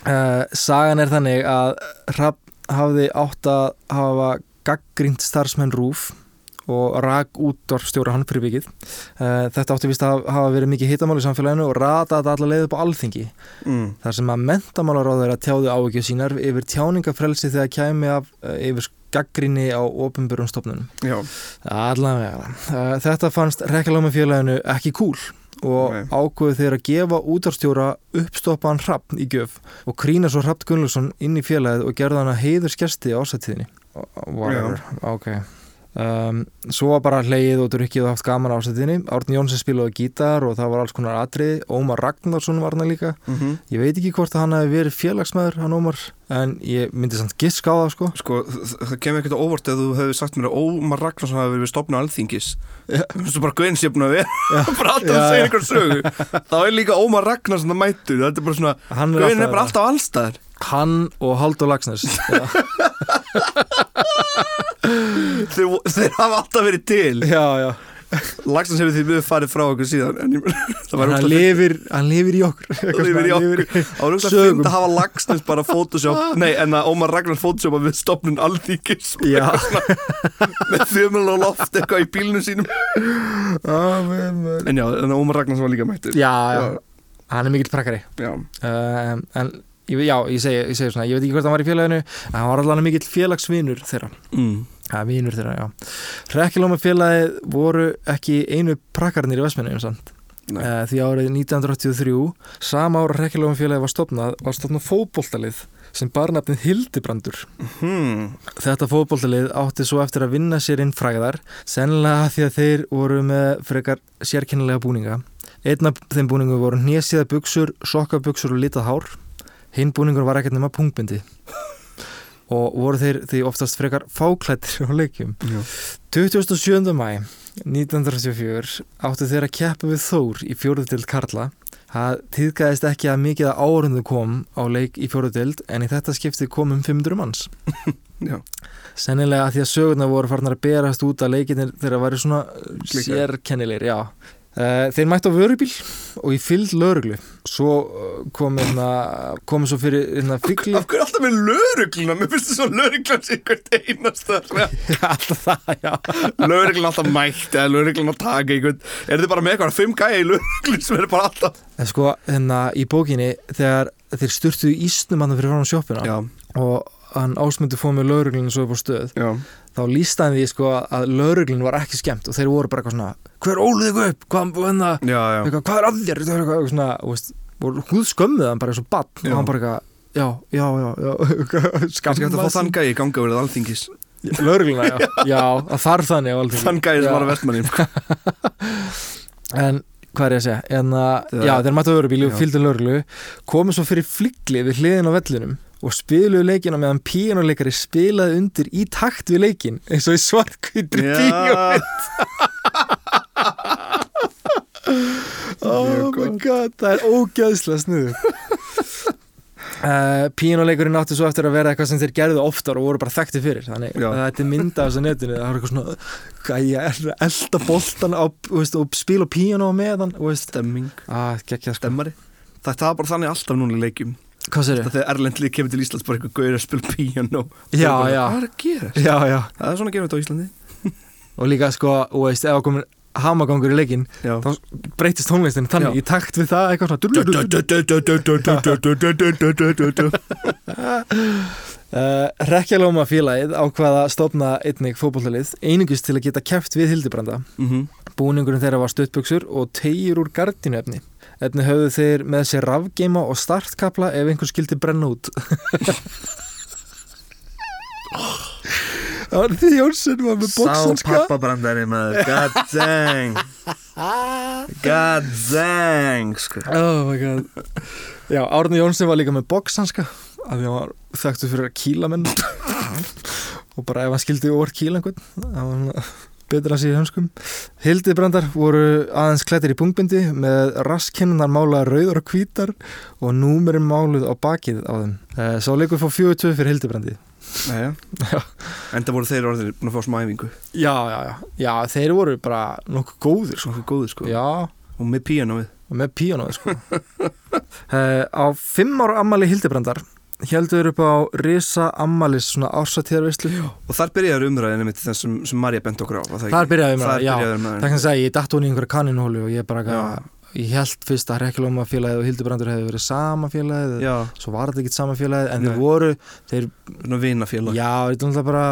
S2: Eh, sagan er þannig að Rapp hafði átt að hafa gaggrind starfsmenn Rúf og rak útdorfstjóra hann fyrir vikið. Eh, Þetta átti vist að hafa verið mikið hitamál í samfélaginu og rataði þetta alla leið upp á alþingi
S3: mm.
S2: þar sem að mentamálaráður að tjáðu áhugju sínar yfir tjáningafrelsi þegar kæmi af eh, yfir gaggrinni á opumburum stofnunum.
S3: Já,
S2: Allavega. Eh, Þetta fannst rekkalámafélaginu ekki kúl og
S3: Nei.
S2: ákveðu þeir að gefa útarstjóra uppstoppaðan hrappn í gjöf og krýna svo hrappn Gunnlaugsson inn í félagið og gerða hann að heiður skjasti á ásættíðinni. Whatever, ok. Um, svo var bara hlegið og drukkið og haft gaman á ásættíðinni. Árni Jónsson spilaði á gítar og það var alls konar atrið. Ómar Ragnarsson var hann líka.
S3: mm
S2: Ég veit ekki hvort að hann hafi verið félagsmaður, hann Ómar, en ég myndi samt gisk á það sko.
S3: Sko, þ- það kemur ekkert á óvart ef þú hefur sagt mér að Ómar Ragnarsson hafi verið við stopna alþingis Þú veist bara gauðin sér búin að vera bara alltaf að
S2: Já,
S3: segja
S2: já.
S3: einhver sögu þá er líka Ómar Ragnarsson að mætur þetta er bara svona,
S2: Hann
S3: gauðin er bara alltaf allstaðar
S2: Hann og Haldur Lagsnes. Já.
S3: þeir, vo- þeir hafa alltaf verið til
S2: já, já.
S3: Lagsnes hefur því við farið frá okkur síðan en ég, það var
S2: hann
S3: úrslag
S2: lifir, hann lifir í okkur Eitthvað
S3: Lifir í
S2: svona,
S3: okkur. Það var úrslag
S2: sögum.
S3: fint að hafa Lagsnes bara Photoshop Nei, en að Ómar Ragnarsson Photoshop við stopnun alþingis
S2: Já.
S3: með þumul og loft eitthvað í bílnum sínum En já, en að Ómar Ragnarsson var líka mættur
S2: já, já, hann er mikill prakkari
S3: já.
S2: uh, en ég- já, ég segi, ég segi svona ég veit ekki hvort hann var í félaginu en hann var allan mikill félagsvinur þeirra
S3: Mm.
S2: Ja, vinur þeirra, já. Rekkilóma félagið voru ekki einu prakkarnir í Vestmennu, samt.
S3: Nei.
S2: Uh, því árið 1983, sama ára Rekkilóma félagið var stopnað, var stopnað fótboltalið sem barnafnið Hildibrandur.
S3: Hmm.
S2: Þetta fótboltalið átti svo eftir að vinna sér inn fræðar, sennilega af því að þeir voru með frekar sérkennilega búninga. Einn af þeim búningum voru hnésíða buksur, sokkabuksur og litað hár. Hinn búningur var ekkert nema punktbindi. Og voru þeir því oftast frekar fáklættir á leikjum.
S3: Já.
S2: 27. mæ 1934 áttu þeir að keppa við Þór í fjóruðdild Karla. Það týðgæðist ekki að mikið að árundu kom á leik í fjóruðdild en í þetta skipti kom um 500 manns.
S3: Já.
S2: Sennilega að því að sögurnar voru farnar að berast út að leikinir þeirra væri svona
S3: Klikkar.
S2: sérkennilegir, já. Eh, Þeir mættu á vörubíl og í fylld lauruglu. Svo eh, kom hérna, komu svo fyrir hérna fíkli.
S3: Af hverju alltaf með lörugluna? Mér finnst þess að löruglans einhvert einasta
S2: Alltaf það, já.
S3: Löruglun alltaf mætt eða löruglun að taka einhvern Er þið bara með eitthvað fimm gæja í löruglun sem er bara alltaf
S2: En sko, hérna í bókinni þegar þeir styrtuðu ísnum hann fyrir frá sjoppuna
S3: Já,
S2: og hann ásmundu fóð með lauruglinu svo upp á stöð
S3: já
S2: þá lísta hann því sko að lauruglinu var ekki skemmt og þeir voru bara eitthvað svona hver óluðu ykkur upp, hvað, hana,
S3: Já, já
S2: eitthvað, hvað er að þér eitthvað, eitthvað, eitthvað svona, þú veist, voru húðskömmuð hann bara eins og bann
S3: Já.
S2: og hann bara eitthvað já, já, já, já
S3: Kannski
S2: skammaði
S3: hægt að fá þann
S2: sín.
S3: gæja í ganga verið alþingis
S2: Lörgluna, já, já það þarf þannig á alþingi
S3: Þann gæði sem var að vestmanni
S2: En hvað er ég að segja? En,
S3: Það-
S2: já, þeir mættu vörubíli og
S3: Já.
S2: fylgdu lörglu komu svo fyrir flyggli við hliðin á vellinum og spiluðu leikina meðan píanuleikari spilaði undir í takt við leikin eins og í svartkvítri bíó Oh
S3: Mjög
S2: my god, það er ógæðslega snuður uh, Pínuleikurinn átti svo eftir að vera eitthvað sem þeir gerðu oftar og voru bara þekkti fyrir þannig
S3: Já.
S2: að þetta er mynda af þessu netinu það var eitthvað svona, gæja, er að elda boltan á, þú veist, og spila pínu á meðan og veist,
S3: Stemming
S2: að gekkja sko
S3: Stemmari Þetta var bara þannig alltaf núna í leikjum
S2: Hvað sér
S3: Þetta þegar Erlend lið kemur til Íslands bara eitthvað gauður að spila piano
S2: Já,
S3: Bara,
S2: já.
S3: Hvað er að gera?
S2: Já, já,
S3: Það er svona að gera þetta á Íslandi
S2: og líka sko, og veist, ef það komin hamagangur í leikinn,
S3: Já
S2: Þá- breytist tónlistin þannig
S3: Já.
S2: í takt við það eitthvað svona du- du- du- du- Uh, Rekkjalóma félagið ákvaða stofna einnig fótbolltalið einingust til að geta kæft við Hildibranda
S3: Mhm.
S2: Búningurinn þeirra var stuttbuxur og tegjur úr gardinuefni Efni höfðu þeir með sér rafgeima og startkapla ef einhver skildi brenna út Því Jónsson var með bóksanska
S3: pappabrandari maður God dang God dang sko.
S2: Oh my god Já, Árni Jónsson var líka með boxhanska af því hann var þekktu fyrir að kýla menn og bara ef hann skildi orð kýla einhvern þá var hann betur að sér í hönskum Hildibrandar voru aðeins klættir í pungbindi með raskinnar málaðar rauðar og hvítar og númerinn máluð á bakið á þeim Eh, Sá leikur fór 42 fyrir Hildibrandi
S3: Jæja. Enda voru þeir orðinir búin að fá smæfingu
S2: Já, já, já, já, þeir voru bara nokkuð góðir
S3: Svo góður sko
S2: Já,
S3: Og með píanóið
S2: og með píanóið sko. uh, á fimm ára ammali Hildibrandar heldur upp á Risa ammalis svona ársatíðarvislu
S3: Og þar byrjaður umræðinu mitt þar sem, sem Marja bent okkur á var það ekki?
S2: þar byrjaði mér
S3: Þar
S2: að, já,
S3: byrjaði
S2: það
S3: umræðinu
S2: kannski að ég datt hún í einhverja kaninhólu og ég bara
S3: Já.
S2: að, ég held fyrst að Rekkilóma félagið og Hildibrandur hefði verið sama félagið
S3: Já,
S2: svo var þetta ekkert sama félagið en
S3: Nei.
S2: þeir voru, þeir,
S3: svona vinafélag
S2: já, þetta er náttúrulega bara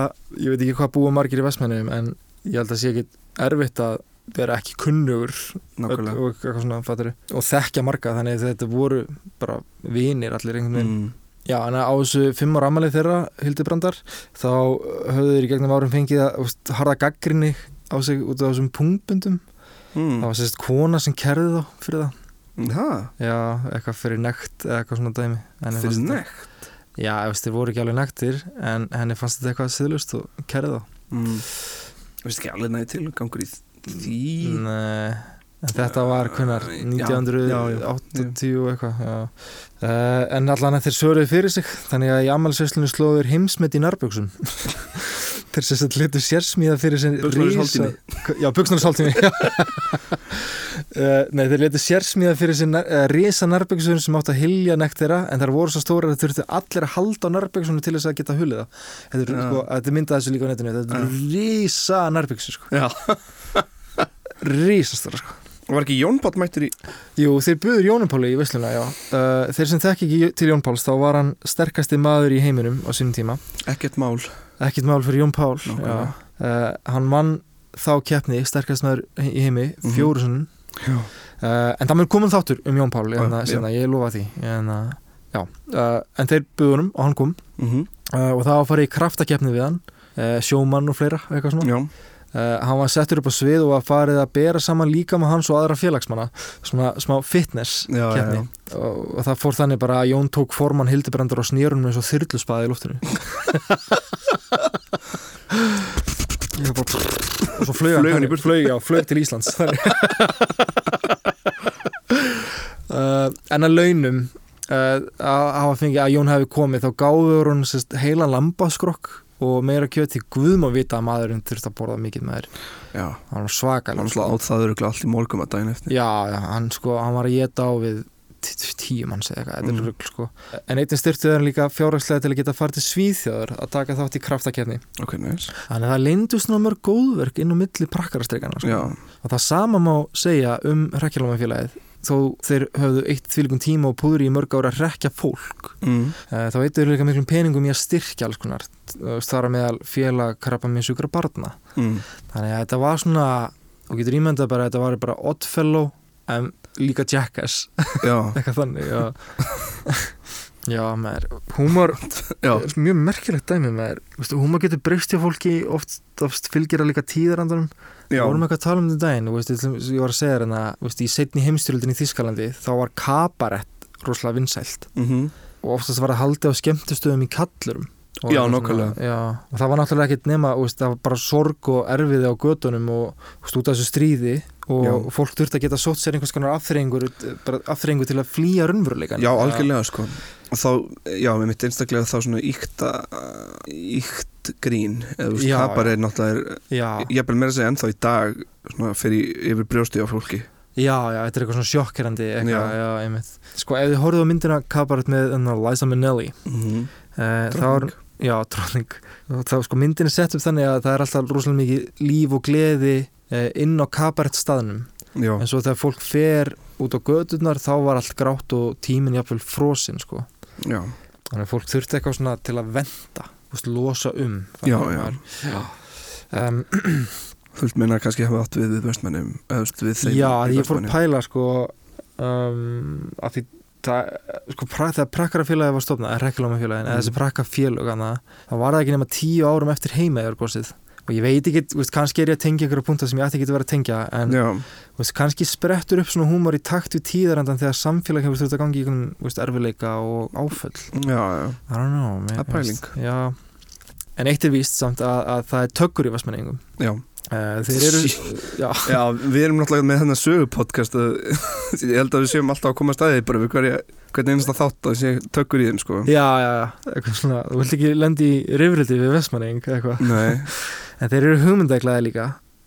S2: ég veit ekki hvað búa margir í Vestmennum en ég held að sé ekkert erfitt að vera ekki kunnugur öll,
S3: Nákvæmlega
S2: og, eitthvað svona, fattaru, og þekkja marga þannig að þetta voru bara vinir allir einhvern veginn
S3: mm.
S2: Já, en á þessu fimm ára ammalið þeirra, Hildibrandar, þá höfðu þeir í gegnum árum fengið að úst, harða gaggrinni á sig út af þessum pungbundum. Það
S3: Mm.
S2: var sérst kona sem kerði þá fyrir það.
S3: Ha,
S2: Já, eitthvað fyrir nekt eða eitthvað svona dæmi. Henni
S3: fyrir
S2: fannst þetta-
S3: nekk
S2: Já, ég veist, þeir voru ekki alveg nektir, en henni fannst þetta eitthvað siðlust og kerði þá.
S3: mm. Vist ekki alveg næði tilgangur í því
S2: Mm. Nei, en eh, þetta var hvernar,
S3: Já,
S2: 1980 og eitthvað, já. Uh, en allan að þeir svöruðu fyrir sig, þannig að í ammælsveislunni slóður heimsmet í nærbjöksum. þeir sérst að hlutu sérsmíða fyrir sinni
S3: Buxnarlaus hálftími.
S2: Já, buksnarins hálftími, já. uh, nei, þeir letu sérsmíða fyrir sinni uh, risa nærbjöksun sem átt að hilja nekt þeirra, en þær voru svo stóra að þeir þurftu allir að halda á nærbjöksunum til þess að geta hulið það. Þetta er,
S3: Já.
S2: sko, þetta er myndað þessu líka á netinu, þetta er risa nærbjöksun, sko
S3: Já
S2: rísastóra sko.
S3: Var ekki Jón Páll mættur í
S2: Jú, þeir buður Jónum Páli í Vesluna, já. Uh, þeir sem þekki ekki til Jón Páls, þá var hann sterkasti maður í heiminum á sínum tíma.
S3: ekkert mál
S2: Ekkert mál fyrir Jón Pál, já.
S3: Nákvæmlega.
S2: Uh, hann vann þá keppni, sterkast maður í heimi,
S3: Mhm.
S2: fjóru sunnum.
S3: Já
S2: Uh, en það mun komum þáttur um Jón Pál, en
S3: Já,
S2: það sinna, ég lofa því. En, uh, já, uh, en þeir buður honum og hann kom
S3: mm
S2: uh, og það var að fara í kraftakeppni við hann, uh, sjómann og fleira, eitthvað svona.
S3: Já
S2: Uh, hann var settur upp á svið og var farið að bera saman líka með hans og aðra félagsmanna svona smá fitness
S3: Já, já,
S2: keppni og, og það fór þannig bara að Jón tók formann Hildibrandur á snýrunum eins og þyrluspaði í loftinu Ég bara, og svo flög
S3: Flaug hann í
S2: burtu flög, já, flög til Íslands þannig. uh, en að launum uh, að hafa fengið að Jón hefði komið þá gáður hún sérst, heila lambaskrokk og meira kjöti guðum að vita að maðurinn þurfti að borða mikið með þér
S3: Já
S2: hann var
S3: Það var
S2: svakalega
S3: náttúrulega átt það öruglega allt í morgum að daginn eftir
S2: Já, já, hann sko, hann var að geta á við t- t- tíu manns eða eitthvað, þetta
S3: Mhm.
S2: er rugl sko en einnig styrtu þeir líka fjárhagslega til að geta farið til svíþjóður að taka þátt í kraftakefni
S3: Ok, næs
S2: þannig að það lindust nú mörg góðverk inn á milli prakkarastreikana sko.
S3: Já,
S2: og það sama má segja um rekkjálómafélagið þó þeir höfðu eitt þvílíkum tíma og púðri í mörg ára að rekja fólk
S3: mm.
S2: Eh, þá eittu þeir líka miklum peningum í að styrkja alls konar eh, þar að meðal félag krabba minn sjúkra barna
S3: Mm.
S2: Þannig að þetta var svona og getur ímyndað bara að þetta var bara Oddfellow en líka Jackass
S3: Já,
S2: eitthvað þannig já. Já, maður, húmor
S3: Já.
S2: er mjög merkilegt dæmi maður, Vistu, húmor getur breyst hjá fólki oftast fylgir að líka tíðarandunum
S3: Já,
S2: Við vorum eitthvað að tala um þetta um daginn, þú veist, ég ætla- ég var að segja þér hérna, þú veist, í setni heimstyrjöldin í Þískalandi þá var kabarett rosalega vinsælt
S3: mhm.
S2: og oftast var að haldi á skemmtustöðum í kallurum og
S3: Já,
S2: það var
S3: nákvæmlega.
S2: svona- já, og það var náttúrulega ekkert nema þú veist, það var bara sorg og erfiði á götunum og þú veist, út af þessu stríði og
S3: Já.
S2: fólk þurfti að geta sótt sér einhvers konar afþrengur afþrengur til að flýja raunveruleikan
S3: já algjörlega sko og þá, já, við mitt einstaklega þá svona íkta íkt grín eða þú veist,
S2: Já,
S3: kapar er náttúrulega
S2: já,
S3: ég er meira að segja ennþá í dag svona, fyrir yfir brjósti á fólki
S2: já, já, þetta er eitthvað svona sjokkerandi
S3: Já.
S2: eitthvað, já, einmitt sko, ef þið horfðu á myndina kabarett með enná, Liza Minnelli
S3: mhm
S2: eh, þá er
S3: Drottning.
S2: já, tróðning þá sko myndin er sett upp þannig að það er alltaf rosalega mikið líf og gleði eh, inn á kabarett staðnum
S3: já,
S2: en svo þegar fólk fer út á gödurnar þá var allt grátt og tíminn jafnvel frosinn sko.
S3: já,
S2: þannig að fólk þurfti eitthvað svona til að venda veist, losa um
S3: já,
S2: Þannig
S3: já.
S2: að var- um,
S3: þú vilt meina að kannski hafa átt við við vestmennum eða þú veist, við þeim
S2: já
S3: í
S2: ég fór að
S3: Vestmannaeyjum.
S2: pæla sko, um, að því það, sko, pra, þegar prakkarafélagi var stofnað eða reklamafélagin, eða
S3: Mm.
S2: þessi prakkafélög hana, það var það ekki nema tíu árum eftir heima og ég veit ekki, veist, kannski er ég að tengja ykkur að punta sem ég ætti ekki að vera að tengja en
S3: já,
S2: Þú veist, kannski sprettur upp svona húmor í takt við tíðarandan þegar samfélag hefur þurft að gangi í einhvern þú veist, erfileika og áföll
S3: já, já,
S2: I don't know mér-
S3: Það er pæling.
S2: veist, Já, en eitt er víst samt að, að það er tökur í vestmenningum
S3: já.
S2: uh, Þeir eru já,
S3: já, við erum náttúrulega með þennan sögupodcast að- ég held að við séum alltaf að koma að staði bara við hverja, hvernig einasta þátt að sé tökur í þeim sko
S2: já, já, eitthvað svona Þú vilt ekki lendi í rifrildi við vestmenning eitthvað
S3: nei,
S2: En þeir eru hugmyndaglaði líka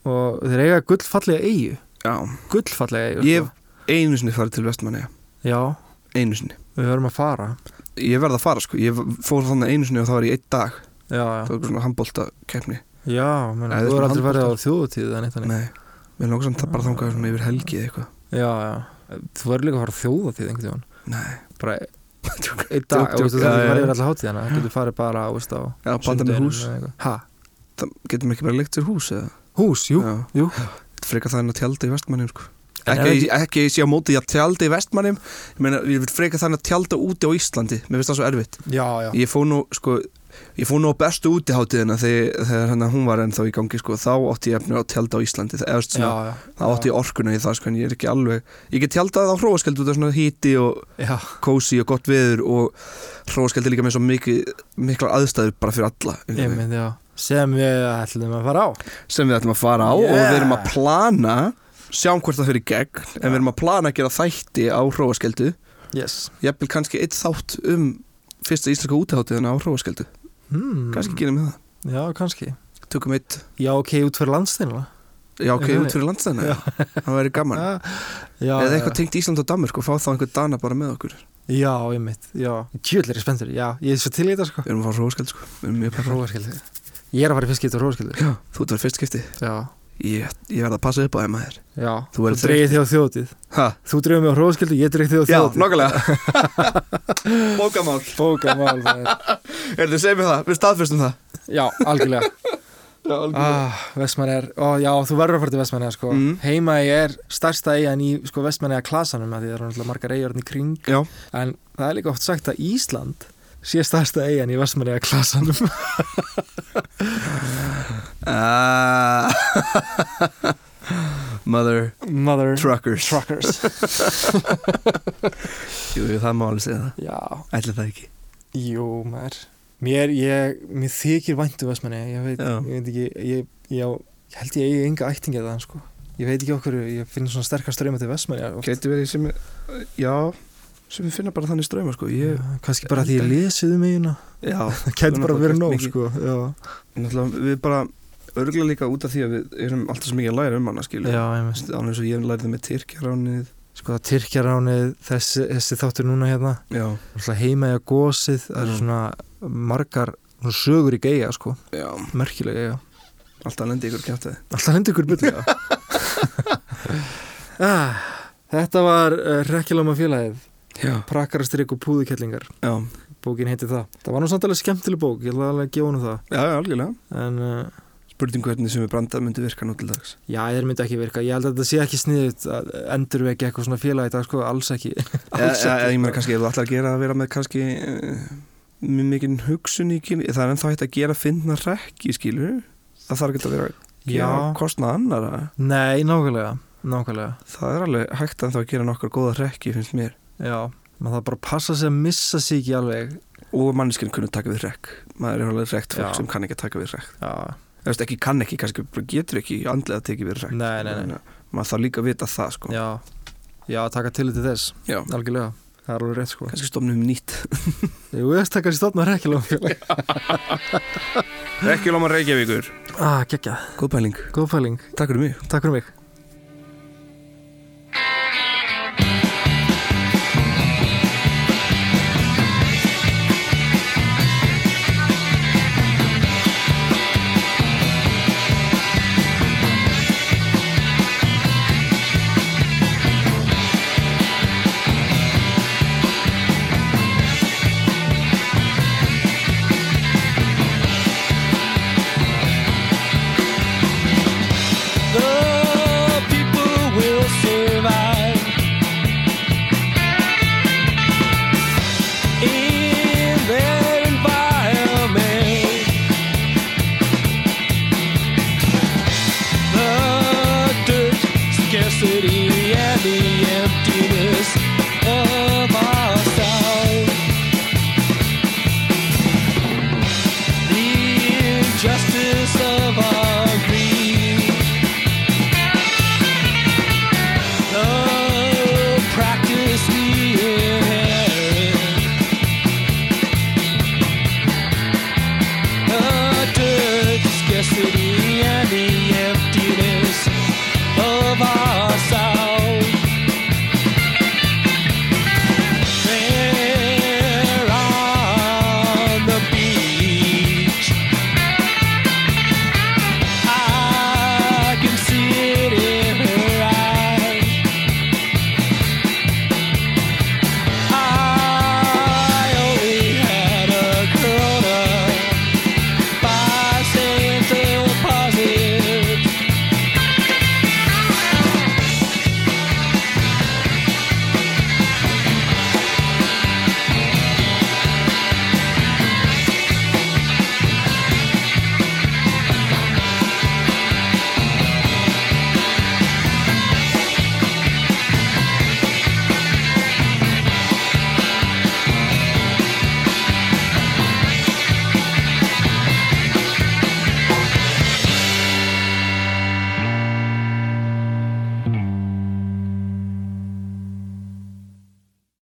S2: og þeir eiga gullfallega eigu
S3: já,
S2: Gullfallega eigu
S3: ég
S2: sko.
S3: hef einu sinni farið til vestmanni
S2: Já,
S3: einu sinni
S2: við verum að fara
S3: ég verð að fara sko, ég fór þannig einu sinni og það var í einn dag
S2: Já,
S3: það
S2: já,
S3: var bara svona handbólta keppni
S2: já menna,
S3: Nei,
S2: þú
S3: þetta
S2: er
S3: er
S2: aldrei verið á
S3: handbolta.
S2: þjóðutíð eða neitt þannig.
S3: nei, við langar samt að bara þangað svona yfir helgi eða eitthvað
S2: Já, já, þú verður líka að fara á þjóðutíð einhvern tíðan
S3: nei,
S2: bara
S3: Djók.
S2: einn dag,
S3: Djók,
S2: þú veist,
S3: djók,
S2: það
S3: já,
S2: er
S3: já.
S2: verið alltaf hátíðana það getur farið bara veist, á
S3: já, bata með
S2: sunnudeginum
S3: hús
S2: eða eitthvað. ha,
S3: það getum ekki bara leikt sér hús eða
S2: hús, jú,
S3: Já.
S2: jú.
S3: frekar það en að tjaldi í vestmannum sko.
S2: En er
S3: ekki, ekki, ekki að ég sé á móti að tjaldi í vestmannum ég meina, ég vil frekar það en að tjalda úti á Íslandi mér finnst það svo erfitt
S2: já, já,
S3: ég fó nú, sko, ég fó nú á bestu útiháttiðina þegar, þegar hana, hún var ennþá í gangi sko, þá átti ég efni að tjalda á Íslandi það, eða,
S2: já,
S3: svona,
S2: já.
S3: þá átti ég orkuna í það sko, en ég er ekki alveg ég get tjaldað á hróaskeld út af svona híti og
S2: já,
S3: kósi og gott veður og hróaskeld er líka með svo mikil, miklar aðstæður bara fyrir alla einhvern
S2: ég
S3: veginn,
S2: mynd, já sem við ætlum að fara á
S3: sem við ætlum að fara á og
S2: Yeah.
S3: við erum að plana sjáum hvort það fyrir gegn en við erum að plana að gera þætti á hróaskeldu
S2: yes.
S3: jafnvel kannski eitt þátt um fyrsta íslenska útiháttiðina á hróaskeldu
S2: hmm.
S3: kannski gerum við það,
S2: já, kannski
S3: tökum eitt
S2: já, ok, út fyrir landsteinla
S3: Já,
S2: Einhvern
S3: ok,
S2: veginn.
S3: út fyrir landstæðina Það væri gaman
S2: já, já,
S3: Eða eitthvað tengt Ísland og Danmark og fá þá einhver dana bara með okkur Við
S2: já, ég mynd, já tjöðlir er spenntur, já, ég er svo til í þetta sko
S3: erum að fá hróskald sko Við erum mjög peppar
S2: róðarskildi, ég er að fara í fiskit og róðarskildi
S3: Já, þú ert að vera fyrst skipti
S2: já,
S3: Ég, ég verð að passa upp á þeim maður
S2: já,
S3: Þú verður
S2: dreigir þig á þjóðutíð
S3: Ha,
S2: þú dreigir mig á róðarskildi, ég dreig þig á
S3: já,
S2: þjóðutíð
S3: nokkulega Bókamál
S2: bókamál, maður.
S3: Er þið segjum við það, við staðfestum það
S2: Já, algjörlega
S3: Já, algjörlega.
S2: ah, Vestmannegar, ó, já, þú verður að fara til Vestmannegar sko.
S3: Mm.
S2: heima ég er stærsta eigan í sko, Vestmannegar klasanum því það eru náttúrulega margar eigarn í kring
S3: Já,
S2: en það er líka oft sagt að Ísland sé stærsta eigan í Vestmannegar klasanum
S3: Ah. Mother
S2: Mother
S3: truckers
S2: Truckers
S3: Jú, jú, það má alveg segja það
S2: Já,
S3: Ætli það ekki
S2: jú, maður Mér, ég, mér þykir væntu Vestmannegar ég veit,
S3: Já.
S2: ég veit ekki ég, ég, á- ég held ég eigi enga ættingi það sko. ég veit ekki okkur, ég finn svona sterkar ströma til Vestmannegar oft.
S3: Geti verið sem, já sem við finna bara þannig ströma sko
S2: Já,
S3: ég,
S2: kannski bara því ég lesið um eiguna
S3: Já,
S2: það gæti
S3: Þú
S2: bara
S3: náttúrulega
S2: verið
S3: gert
S2: nóg
S3: mikið.
S2: sko. já.
S3: Náttúrulega við bara örgulega líka út af því að við erum alltaf svo mikið að læra um hana skilur
S2: Já, ég veist
S3: Án eins og ég lærði með Tyrkjaránið
S2: Sko það Tyrkjaránið, þessi, þessi þáttur núna hérna
S3: Já,
S2: Alltaf heima eða gósið Það eru
S3: Mm.
S2: svona margar svona sögur í geiga sko
S3: já,
S2: Merkilega eiga
S3: alltaf lendi ykkur kjáttið
S2: Alltaf hendur ykkur byrja ah, Þetta var uh, Rekkjulama félagið
S3: Já,
S2: Prakkarastrik og púðukellingar
S3: já,
S2: Bókin heiti það Það var nú samt alveg skemmtileg bók Ég ætla alveg að gefa hún það
S3: já, algjörlega
S2: En uh,
S3: spurning hvernig sem við brandað myndi virka nú til dags
S2: Já, þeir myndi ekki virka, ég held að þetta sé ekki sniðut að endur við ekki eitthvað svona félag í dag sko, alls ekki
S3: eða eða ég meina kannski ef þú ætlar að gera að vera með kannski uh, mjög mikinn hugsun í kynni það er ennþá hægt að gera finna rekki skilur það þarf ekki að vera að gera
S2: Já.
S3: kostna annara
S2: Nei, nákvæmlega, nákvæmlega
S3: það er alveg hægt ennþá að gera nokkur góða rekki finnst mér
S2: Já, maður það bara að passa sig að missa sig ekki alveg
S3: og manneskinn kunni taka við rekk maður er alveg rekt fólk
S2: Já.
S3: sem kann ekki að taka við rekk
S2: Já,
S3: eða veist, ekki kann ekki, kannski bara getur ekki andlega að teki við rekk
S2: Nei, nei, nei.
S3: Þannig að maður þarf líka að vita það sko
S2: já, já, taka til til þess,
S3: Já.
S2: algjörlega Það er alveg rétt sko
S3: kannski stofnum nýtt
S2: Jú, ég veist það kannski stofna rekkilega félag
S3: rekki lóma Reykjavíkur
S2: Ah, gekkja,
S3: góð pæling
S2: góð fæling,
S3: takk fyrir mig
S2: takk fyrir mig
S5: The people will survive. In their environment, the dirt, scarcity, and the emptiness of ourselves. The injustice of our greed. The practice we